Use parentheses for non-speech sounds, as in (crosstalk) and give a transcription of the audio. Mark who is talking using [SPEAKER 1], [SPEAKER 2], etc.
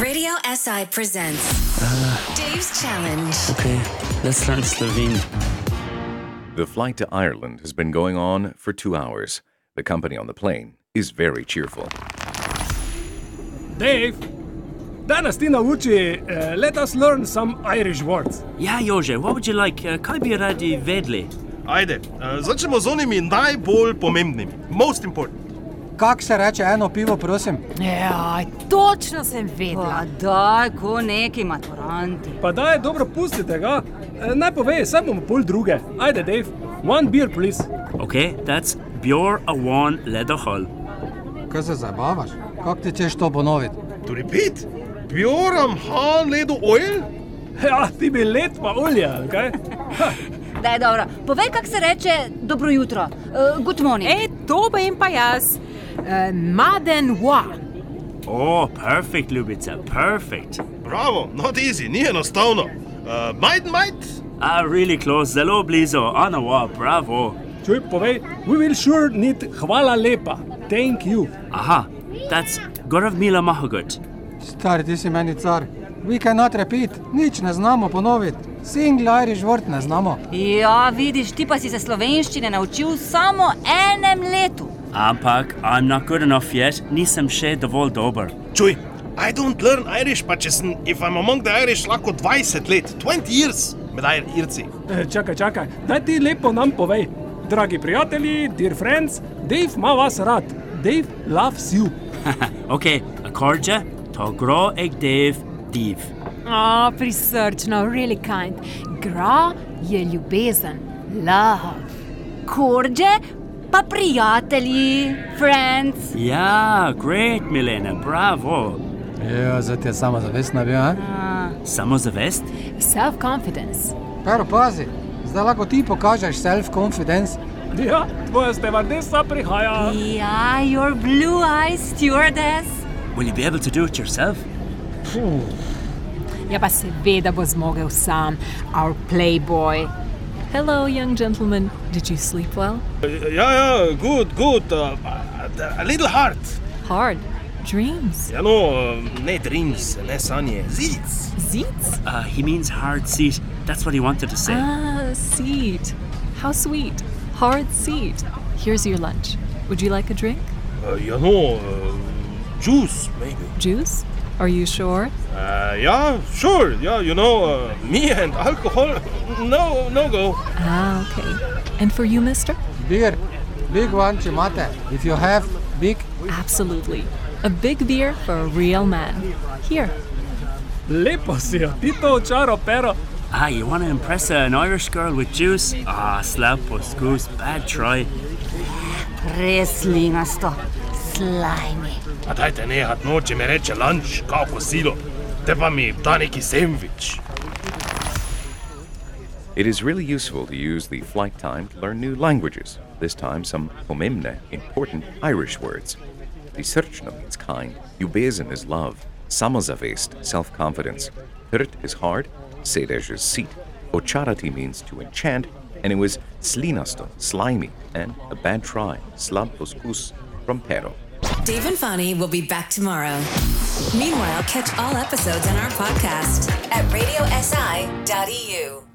[SPEAKER 1] Radio SI presents Dave's Challenge.
[SPEAKER 2] Okay, let's learn Slovene.
[SPEAKER 3] The flight to Ireland has been going on for two hours. The company on the plane is very cheerful.
[SPEAKER 4] Dave, danes ti nauči uh, let us learn some Irish words.
[SPEAKER 2] Ja, Jože, what would you like? Uh, kaj bi radi vedeli?
[SPEAKER 5] Ajde, eh, začnemo z onimi najbolj pomembnimi, most important.
[SPEAKER 6] Kak se reče eno pivo, prosim?
[SPEAKER 7] Ja, točno sem vedela.
[SPEAKER 8] Pa daj, ko neki maturanti.
[SPEAKER 4] Pa da je dobro, pustite ga, uh, naj pove, samo bomo pol druge. Ajde, Dave, one beer, please. (laughs)
[SPEAKER 2] Okay, that's Bjor Awan Ledohol.
[SPEAKER 6] Kaj se zabavaš? Kak ti češ to ponoviti?
[SPEAKER 5] To repeat, Torej Bjorn Han ledu oil,
[SPEAKER 4] Ja, ti bi let pa olje, ali kaj?
[SPEAKER 8] Da je dobro. Povej, kako se reče dobro jutro. Uh, good morning.
[SPEAKER 7] E, to bi jim pa jaz. Uh, Maden wa.
[SPEAKER 2] Oh, perfect, Ljubica, perfect.
[SPEAKER 5] bravo, not easy, ni enostavno. Uh, might, might,
[SPEAKER 2] Ah, really close, zelo blizu, Anawa, bravo.
[SPEAKER 4] Čuj, povej, we will sure need hvala lepa. Thank you.
[SPEAKER 2] Aha, that's Gorav Mila Mahagut.
[SPEAKER 6] Stari, ti si meni car. We cannot repeat, nič ne znamo ponoviti. Single Irish word ne znamo.
[SPEAKER 8] Ja, vidiš, ti pa si se slovenščine naučil samo enem letu.
[SPEAKER 2] Ampak, I'm not good enough yet, nisem še dovolj dober. (laughs)
[SPEAKER 5] čuj. I don't learn Irish, pa če sem, if I'm among the Irish, lahko 20 let, 20 years med Ir- Irci.
[SPEAKER 4] Eh, Čakaj, čakaj, daj ti lepo nam povej. Dragi prijatelji, dear friends, Dave ima vas rad. Dave loves you.
[SPEAKER 2] okay, Akorja, to gro eg dev div.
[SPEAKER 7] Oh, prisrčno, really kind. Gra je ljubezen, love.
[SPEAKER 8] Kordže, pa prijatelji, friends.
[SPEAKER 2] Ja, great, Milena, bravo.
[SPEAKER 6] Ja, zdaj ti je sama zavest nabil, a?
[SPEAKER 2] Samozavest?
[SPEAKER 7] Self-confidence.
[SPEAKER 6] Pero pazi, zdaj lahko ti pokažeš self-confidence.
[SPEAKER 4] Ja, tvoja stevardesa prihaja.
[SPEAKER 8] Ja, your blue eyes stewardess.
[SPEAKER 2] Will you be able to do it yourself?
[SPEAKER 7] Ja, pa seveda bo zmogel sam, our playboy. Hello, young gentleman. Did you sleep well?
[SPEAKER 5] Ja, ja, good, good, uh, a little hard.
[SPEAKER 7] Hard. Dreams.
[SPEAKER 5] Ja, no, uh, ne dreams, ne sanje, zic.
[SPEAKER 7] Seats?
[SPEAKER 2] Uh, he means hard seat. That's what he wanted to say.
[SPEAKER 7] Ah, seat. How sweet. Hard seat. Here's your lunch. Would you like a drink?
[SPEAKER 5] Uh, ja, no, uh, juice, maybe.
[SPEAKER 7] Juice? Are you sure?
[SPEAKER 5] Uh, yeah, sure. Yeah, you know, uh, me and alcohol, no, no go.
[SPEAKER 7] Ah, okay. And for you, mister?
[SPEAKER 6] Beer, big one, če imate. If you have, big.
[SPEAKER 7] Absolutely. A big beer for a real man. Here.
[SPEAKER 4] Lepo si jo, ti to očaro pero.
[SPEAKER 2] Ah, you want to impress an Irish girl with juice? Ah, slap was goose. Bad try.
[SPEAKER 8] Res linasto, slajni.
[SPEAKER 5] A dajte nehat noče mi reče lunch, kao kosilo. Te pa mi da neki sandvič.
[SPEAKER 3] It is really useful to use the flight time to learn new languages, this time some pomimne, important Irish words. The searchna means kind, ubezin is love, samozavest, self confidence, hurt is hard, sedesh is seat, ocharati means to enchant, and it was slinasto, slimy, and a bad try, slab puskus, from pero.
[SPEAKER 1] Dave and Fani will be back tomorrow. Meanwhile, catch all episodes on our podcast at radiosi.eu.